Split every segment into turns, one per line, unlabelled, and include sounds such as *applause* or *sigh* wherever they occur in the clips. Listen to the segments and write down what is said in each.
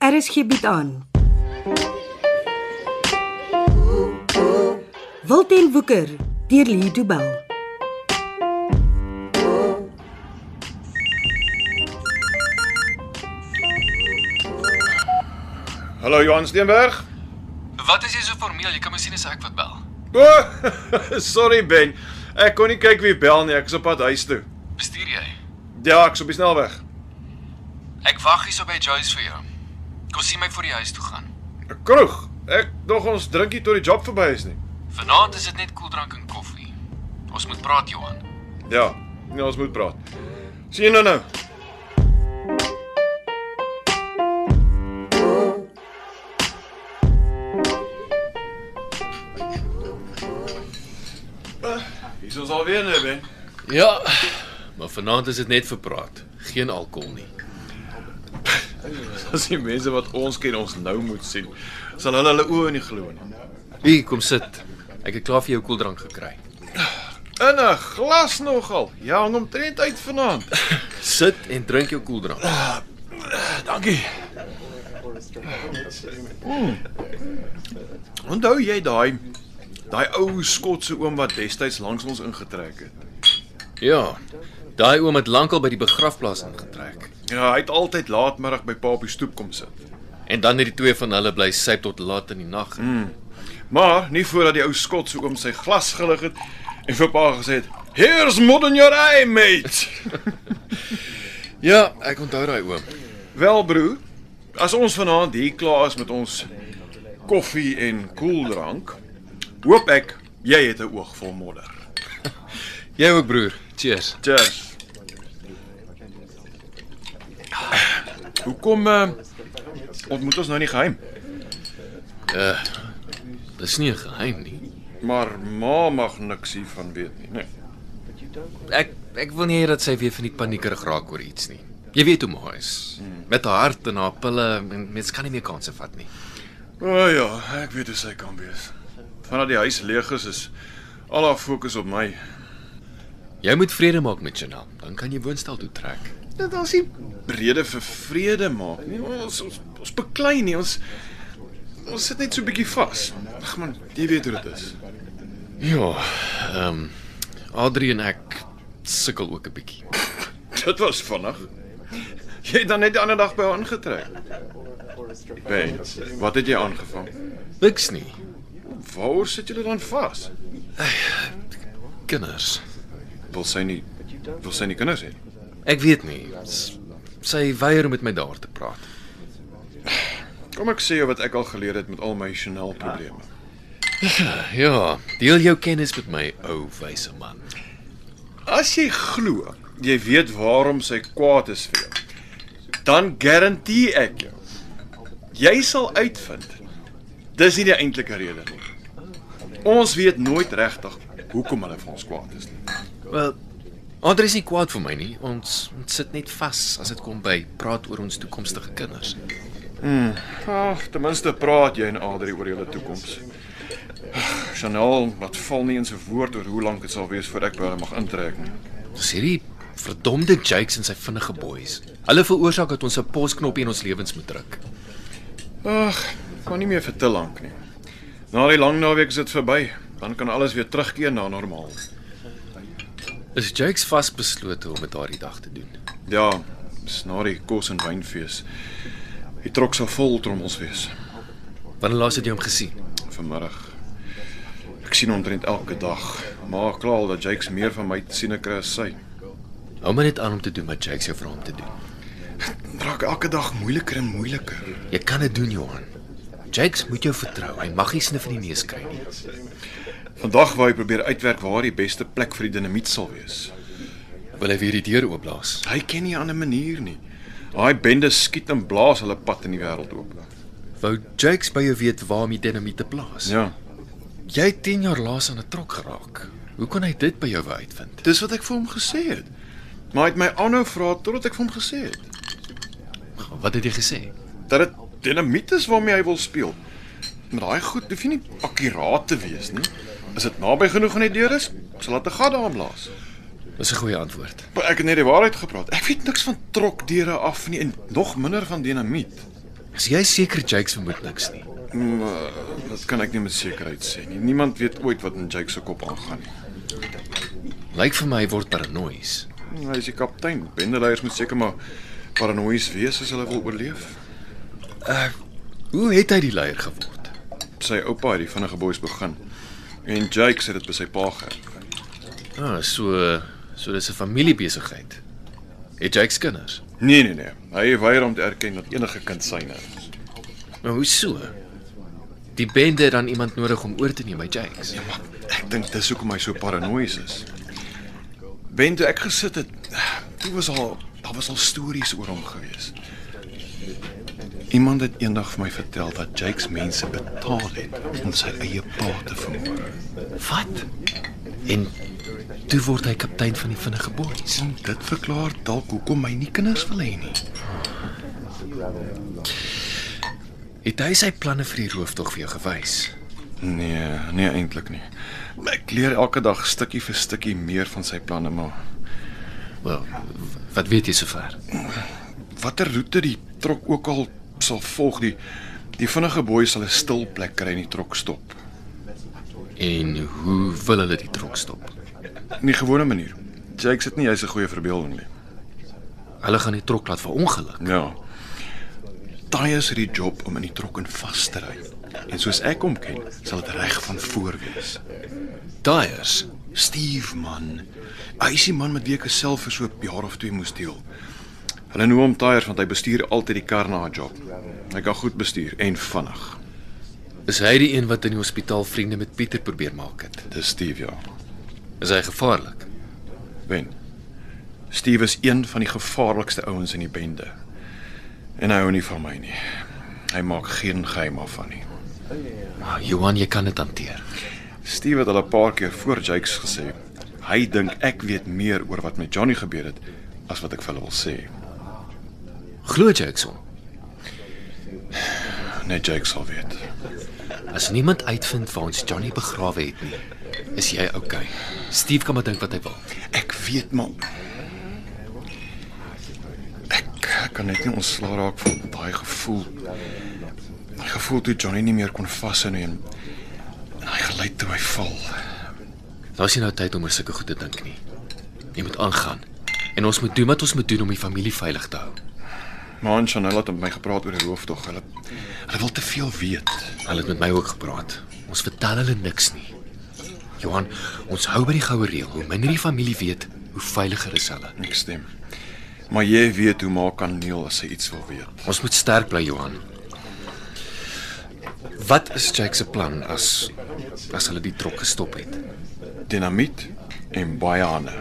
RSG bied Er aan. Wilten Woeker deur Lee Du Bell.
Hallo Johan Steenberg.
Wat is jy so formeel? Jy kan my sien as ek wat bel.
O, *laughs* oh, sorry Ben. Ek kon nie kyk wie bel nie. Ek is op pad huis toe.
Bestuur jy?
Ja, ek's op die snelweg.
Ek wag hier so by Joyce vir jou. Kom sien my voor die huis toe gaan.
'n Kroeg. Ek dog ons drinkie tot die job verby is nie.
Vanaand is dit net koeldrank en koffie. Ons moet praat, Johan.
Ja, nee, ons moet praat. Sien jou nou nou. Hier is ons alweer nou, Ben. *laughs*
Ja, maar vanaand is dit net vir praat, geen alkohol nie.
As die mense wat ons ken ons nou moet sien, sal hulle hulle oë nie glo nie.
Hier, kom sit. Ek het klaar vir jou koeldrank gekry.
In 'n glas nogal. Ja, hang omtrent uit vanaand.
*laughs* Sit en drink jou koeldrank.
Dankie. Hmm. Onthou jy daai daai ou skotse oom wat destyds langs ons ingetrek het?
Ja. Daai oom het lankal by die begrafplaas ingetrek.
Ja, hy het altyd laatmiddag by pa op die stoep kom sit.
En dan het die twee van hulle bly syp tot laat in die nag. Mm.
Maar nie voordat die ou skotse oom sy glas gelig het en vir pa gesê het: "Here's mud in your eye, mate."
Ja, ek onthou daai oom.
Wel broer, as ons vanaand hier klaar is met ons koffie en koeldrank, hoop ek jy het 'n oog vol modder.
Jy ook broer. Cheers.
Cheers. Hoekom uh, ontmoet ons nou nie geheim?
Eh, Dis nie 'n geheim nie.
Maar ma mag niks hiervan weet nie, né? Nee.
Ek ek wil nie hê dat sy weer van die paniekerig raak oor iets nie. Jy weet hoe ma is. Met haar hart en haar pille en mens kan nie meer kanse vat nie.
O oh, ja, ek weet hoe sy kan wees. Vandat die huis leeg is, is al haar fokus op my.
Jy moet vrede maak met Chanel, dan kan jy woonstel toe trek.
Dit ons nie brede vir vrede maak nie. Ons ons, ons beklei nie. Ons ons sit net so 'n bietjie vas. Ag man, jy weet hoe dit is.
Ja, ehm um, Adrie en ek sukkel ook 'n bietjie.
Dit was vinnig. Jy het dan net die ander dag by haar ingetrek. Ben, wat het jy aangevang?
Niks nie.
Waar sit julle dan vas?
Kinders.
Wil sy nie wil sy nie kinders hê? nie?
Ek weet nie. S sy weier om met my daar te praat.
Kom ek sê jou wat ek al geleer het met al my Chanel probleme.
Ja, deel jou kennis met my, ou wyse man.
As jy glo, jy weet waarom sy kwaad is vir jou. Dan garandeer ek jou. Jy sal uitvind. Dis nie die eintlike rede nie. Ons weet nooit regtig hoekom hulle vir ons kwaad is nie.
Wel, Andre is nie kwaad vir my nie. Ons ons sit net vas as dit kom by praat oor ons toekomstige kinders.
Ag, ten minste praat jy en Adri oor julle toekoms. Chanel, wat val nie eens 'n woord oor hoe lank dit sal wees voor ek by hulle mag intrek nie.
Dis hierdie verdomde Jakes en sy vinnige boys. Hulle veroorsaak dat ons 'n posknoppie in ons lewens moet druk.
Ag, kan nie meer vir te lank nie. Na die lang naweek is dit verby. Dan kan alles weer terugkeer na normaal.
Is Jakes vasbeslote om dit daardie dag te doen.
Ja, dis na die kos en wynfees. Die trok sal vol trommels wees
Wanneer laas het jy hom gesien?
vanmiddag. Ek sien omtrent elke dag, maar klaar al dat Jakes meer van my te sien kry as sy.
Hou maar net aan om te doen wat Jakes jou vra om te doen.
Raak elke dag moeiliker en moeiliker.
Jy kan dit doen, Johan. Jakes moet jou vertrou. Hy mag nie snif in die neus kry nie.
Vandag wou hy probeer uitwerk waar die beste plek vir die dinamiet sal wees.
Wil hy weer die deur oopblaas?
Hy ken nie 'n ander manier nie. Daai bende skiet en blaas hulle pad in die wêreld oop.
Wou Jakes by jou weet waar om die dinamiet te plaas?
Ja,
Jy het 10 jaar laas aan 'n trok geraak. Hoe kon hy dit by jou wou uitvind?
dis wat ek vir hom gesê het. Maar hy het my aanhou vra totdat ek vir hom gesê het
Wat het jy gesê?
dat dit dinamiet is waarmee hy wil speel. Maar daai goed hoef jy nie akkuraat te wees nie. As dit naby genoeg aan die deur is, sal dit 'n gat daarin blaas.
Dis 'n goeie antwoord.
Maar ek het net die waarheid gepraat. Ek weet niks van trokdeure af nie en nog minder van dinamiet.
Is jy seker Jakes vermoed niks nie?
Dit eh, kan ek nie met sekerheid sê nie. Niemand weet ooit wat in Jake se kop aangaan nie.
Lyk vir my hy word paranoïes.
Mm, Hy is die kaptein. Bendeleiers moet seker maar paranoïes wees as hulle wil oorleef.
Uh, Hoe het hy die leier geword?
Sy oupa het die vinnige boeis begin en Jake het dit by sy pa geërf.
Ah, so so dis 'n familiebesigheid. Het Jakes kinders?
Nee nee nee. Hy weier om te erken dat enige kind nou. syne is.
Maar Nou, hoe so? Die bende het dan iemand nodig om oor te neem by Jakes.
Ek dink dis hoekom hy so paranoïes is. Ben toe ek gesit het, toe was al daar was al stories oor hom gewees. Iemand het eendag vir my vertel dat Jake se mense betaal het om sy eie pa te vermoor.
Wat? En toe word hy kaptein van die vinnige boeis.
En dit verklaar dalk hoekom hy nie kinders wil hê nie.
Het hy sy planne vir die rooftog vir jou gewys?
Nee, nee eintlik nie. Ek leer elke dag stukkie vir stukkie meer van sy planne maar
Wel, wat weet jy sover?
watter roete die trok ook al sal volg, die die vinnige boei sal 'n stil plek kry en die trok stop.
En hoe wil hulle die trok stop?
In die gewone manier. Jake sit nie hy's 'n goeie verbeelding nie.
Hulle gaan die trok laat verongeluk.
Ja. Tyus het die job om in die trok in vas te ry. En soos ek hom ken, sal dit reg van voor wees.
Daaiers.
Steve man. Hy is die man met wie ek self vir so 'n jaar of twee moes deel. Hulle noem hom Tyers want hy bestuur altyd die kar na 'n job. Hy kan goed bestuur en vinnig.
Is hy die een wat in die hospitaal vriende met Pieter probeer maak het?
Dis Steve ja.
Is hy gevaarlik?
Wen. Steve is een van die gevaarlikste ouens in die bende. En hy hou nie van my nie. Hy maak geen geheim af van nie.
Maar Ah, Johan, jy kan dit hanteer.
Steve het al 'n paar keer voor Jakes gesê, hy dink ek weet meer oor wat met Johnny gebeur het as wat ek vir hulle wil sê.
Glo Jackson.
Net Jakes sal weet.
As niemand uitvind waar ons Johnny begrawe het nie, is jy okay. Steve kan maar dink wat hy wil.
Ek weet maar ek, ek kan net nie ontslaa raak van daai gevoel. Daai gevoel toe Johnny nie meer kon vashou nie en en hy gelei toe hy val.
Daar's nie nou tyd om oor sulke goed te dink nie. Jy moet aangaan. En ons moet doen wat ons moet doen om die familie veilig te hou.
Ma en Chanel het met my gepraat oor die rooftog. Hulle hulle wil te veel weet.
Hulle het met my ook gepraat. Ons vertel hulle niks nie. Johan, ons hou by die goue reël. Hoe minder die familie weet, hoe veiliger is hulle.
Ek stem. Maar jy weet hoe ma kan neel as sy iets wil weet.
Ons moet sterk bly, Johan. Wat is Jake se plan as as hulle die trok gestop het?
Dinamiet en baie ander.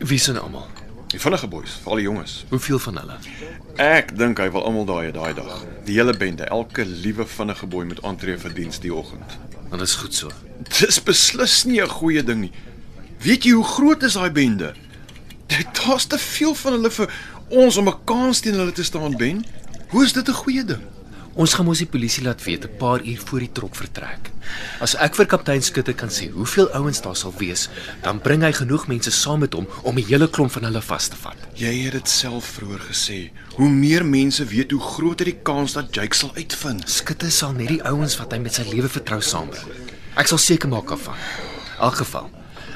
Wie se almal?
Die vinnige boeis, veral die jonges.
Hoeveel van hulle?
Ek dink hy wil almal daai daai dag. Die hele bende, elke liewe vinnige boei moet aantree vir diens die oggend.
Dan is goed so.
Dis beslis nie 'n goeie ding nie. Weet jy hoe groot is daai bende? Daar's te veel van hulle vir ons om 'n kans teen hulle te staan, Ben. Hoe is dit 'n goeie ding?
Ons gaan mos die polisie laat weet 'n paar uur voor die trok vertrek. As ek vir kaptein Skutte kan sê hoeveel ouens daar sal wees, dan bring hy genoeg mense saam met hom om 'n hele klomp van hulle vas te vat.
Jy het dit self vroeër gesê. Hoe meer mense weet, hoe groter die kans dat Jake sal uitvind.
Skutte sal net die ouens wat hy met sy lewe vertrou saambring. Ek sal seker maak daarvan. In elk geval,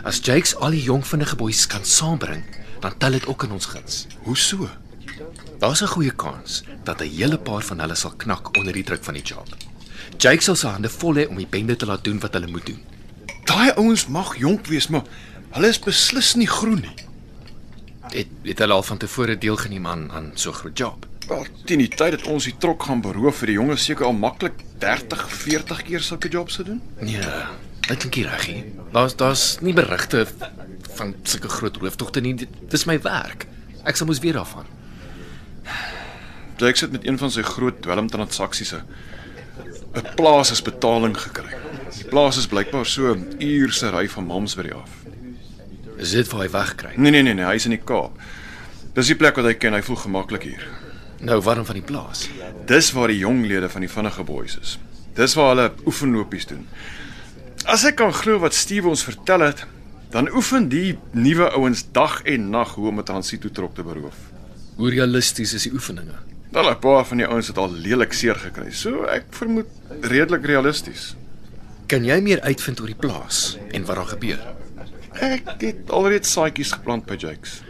as Jakes al die jong vinnige boeis kan saambring, dan tel dit ook in ons guns.
Hoe so?
Daar's 'n goeie kans dat 'n hele paar van hulle sal knak onder die druk van die job. Jake sal sy hande vol hê om die bende te laat doen wat hulle moet doen.
Daai ouens mag jonk wees, maar hulle is beslis nie groen nie.
Het het hulle al van tevore deelgeneem aan aan so groot job.
Wel, teen die tyd dat ons die trok gaan beroof vir die jonges seker al maklik 30, 40 keer sulke jobs gedoen.
Nee, dit klink nie reg nie. Daar's daar's nie berigte van sulke groot rooftogte nie. Dit dis my werk. Ek sal mos weer daarvan.
Jake het met een van sy groot dwelmtransaksies 'n 'n plaas as betaling gekry. Die plaas is blykbaar so 'n uur se ry van Mamsbury af.
Is dit waar hy wegkry?
Nee nee nee, nee hy is in die Kaap. Dis die plek wat hy ken, hy voel gemaklik hier.
Nou waarom van die plaas?
Dis waar die jong lede van die vinnige boeis is. Dis waar hulle oefenlopies doen. As ek kan glo wat Steve ons vertel het, dan oefen die nuwe ouens dag en nag hoe om 'n transitotrok te beroof.
Hoe realisties is die oefeninge?
Wel 'n paar van die ouens het al lelik seer gekry. So ek vermoed redelik realisties.
Kan jy meer uitvind oor die plaas en wat daar gebeur?
Ek het alreeds saadjies geplant by Jakes.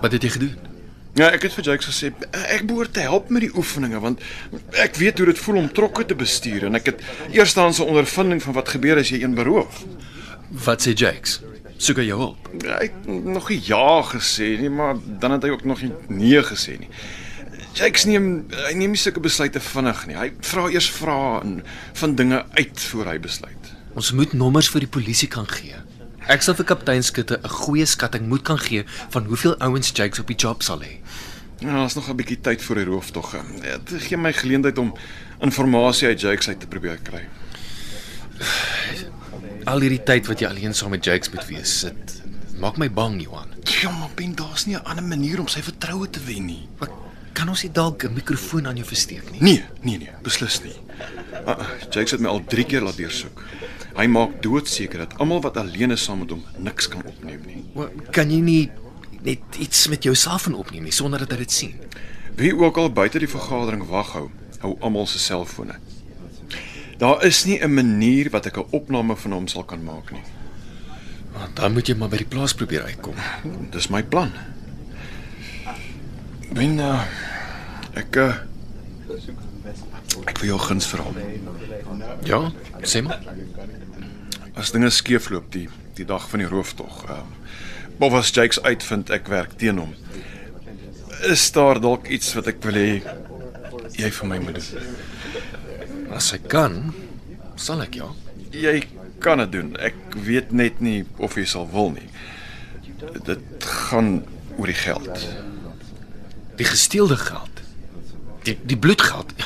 Wat het jy gedoen?
Ja, ek het vir Jakes gesê ek behoort te help met die oefeninge want ek weet hoe dit voel om trokke te bestuur en ek het eersdaanse ondervinding van wat gebeur as jy een beroof.
Wat sê Jakes? Soek hy jou hulp?
Hy het nog nie ja gesê nie, maar dan het hy ook nog nie nee gesê nie. Jakes neem hy neem nie sulke besluite vinnig nie. Hy vra eers vrae en van dinge uit voor hy besluit.
Ons moet nommers vir die polisie kan gee. Ek sal vir kaptein Skutte 'n goeie skatting moet kan gee van hoeveel ouens Jakes op die job sal hê.
Ja, daar's nog 'n bietjie tyd vir die rooftog. Dit gee my geleentheid om inligting uit Jakes uit te probeer kry.
Al hierdie tyd wat jy alleen saam met Jakes moet wees, dit maak my bang, Johan.
Ja, maar Ben, daar's nie 'n ander manier om sy vertroue te wen nie.
Wat kan ons nie dalk 'n mikrofoon aan jou versteek nie?
Nee, nee nee, beslis nie. Uh, uh, Jakes het my al 3 keer laat deursoek. Hy maak doodseker dat almal wat alleen is saam met hom niks kan opneem nie.
Wa- Kan jy nie net iets met jou selfoon opneem nie sonder dat hy dit sien?
Wie ook al buite die vergadering wag hou, hou almal se selfone. Daar is nie 'n manier wat ek 'n opname van hom sal kan maak nie.
Want dan moet jy maar by die plaas probeer uitkom.
Dis my plan. Ben uh, ek uh, ek wil jou guns verhaal.
Ja, sê maar.
As dinge skeefloop die die dag van die rooftog. Ehm uh, Bob was Jakes uitvind ek werk teen hom. Is daar dalk iets wat ek wil hê jy vir my moet doen?
As hy kan, sal ek ja.
Jy kan dit doen. Ek weet net nie of jy sal wil nie. Dit gaan oor die geld.
Die gesteelde geld. Die die bloedgeld. Ja,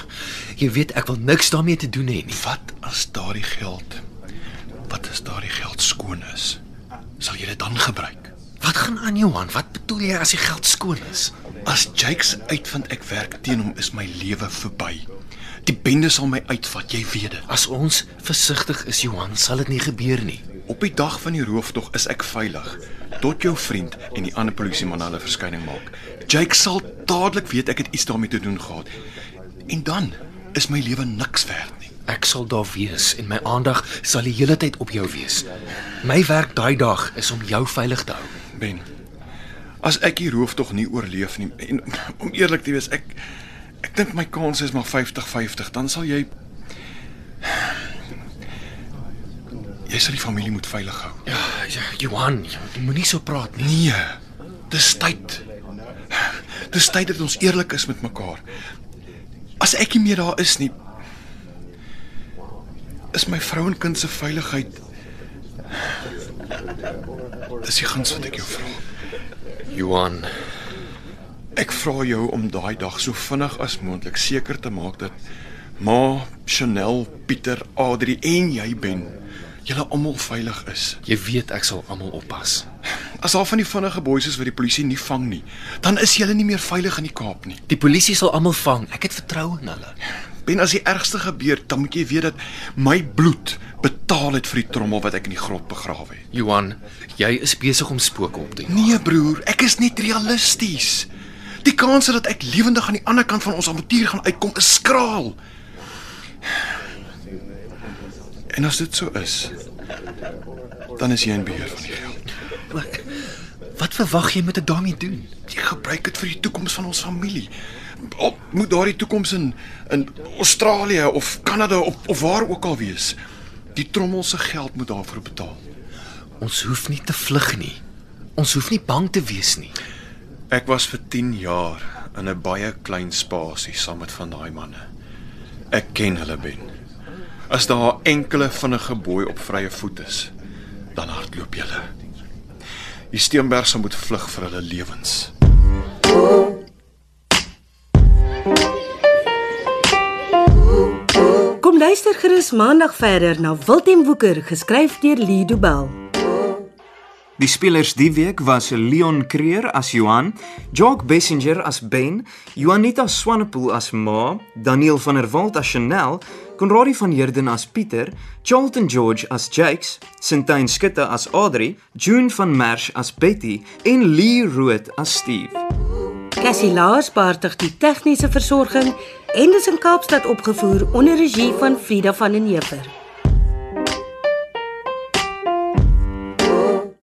Jy weet ek wil niks daarmee te doen hê nie.
Wat as daardie geld wat as daardie geld skoon is? Sal jy dit dan gebruik?
Wat gaan aan Johan? Wat bedoel jy as die geld skoon is?
As Jakes uitvind ek werk teen hom is my lewe verby. Die bende sal my uitvat, jy weet dit.
As ons versigtig is, Johan, sal dit nie gebeur nie.
Op die dag van die rooftog is ek veilig tot jou vriend en die ander polisieman hulle verskyning maak. Jake sal dadelik weet ek het iets daarmee te doen gehad. En dan is my lewe niks werd nie.
Ek sal daar wees en my aandag sal die hele tyd op jou wees. My werk daai dag is om jou veilig te hou.
Ben. As ek die rooftog nie oorleef nie en om eerlik te wees, ek ek dink my kans is maar 50-50, dan sal jy jy sal die familie moet veilig hou.
Ja, ja Johan, jy moenie so praat nie.
Nee, dis tyd. Dis tyd dat ons eerlik is met mekaar. As ek nie meer daar is nie, is my vrou en kind se veiligheid Dis die guns wat ek jou vra.
Johan,
Ek vra jou om daai dag so vinnig as moontlik seker te maak dat Ma, Chanel, Pieter, Adri en jy ben, julle almal veilig is.
jy weet ek sal almal oppas.
As daar van die vinnige boeis is wat die polisie nie vang nie, dan is julle nie meer veilig in die Kaap nie.
Die polisie sal almal vang. Ek het vertroue in hulle.
Ben as die ergste gebeur, dan moet jy weet dat my bloed betaal het vir die trommel wat ek in die grot begrawe het.
Johan, jy is besig om spooke op te jaag.
Nee broer, ek is net realisties. Die kans dat ek lewendig aan die ander kant van ons avontuur gaan uitkom is skraal. En as dit so is, dan is jy in beheer van die geld.
Wat- Wat verwag jy met 'n daarmee doen?
Jy gebruik dit vir die toekoms van ons familie. Op moet daardie toekoms in in Australië of Kanada of of waar ook al wees. Die trommel se geld moet daarvoor betaal.
Ons hoef nie te vlug nie. Ons hoef nie bang te wees nie.
Ek was vir 10 jaar in 'n baie klein spasie saam met van daai manne. Ek ken hulle ben. As daar 'n enkele vinnige boei op vrye voet is, dan hardloop julle. Die Steenbergse moet vlug vir hulle lewens.
Kom luister gerus maandag verder na Wilten Woeker geskryf deur Lido Bell.
Die spelers die week was Leon Creer as Johan, Jock Bessinger as Ben, Juanita Swanepoel as Ma, Daniel van der Walt as Chanel, Konradi van Heerden as Pieter, Charlton George as Jakes, Sintyn Skutte as Adri, June van Merch as Betty en Lee Rood as Steve.
Cassie Laas beheer die tegniese versorging en dit is in Kaapstad opgevoer onder regie van Frida van den Heever.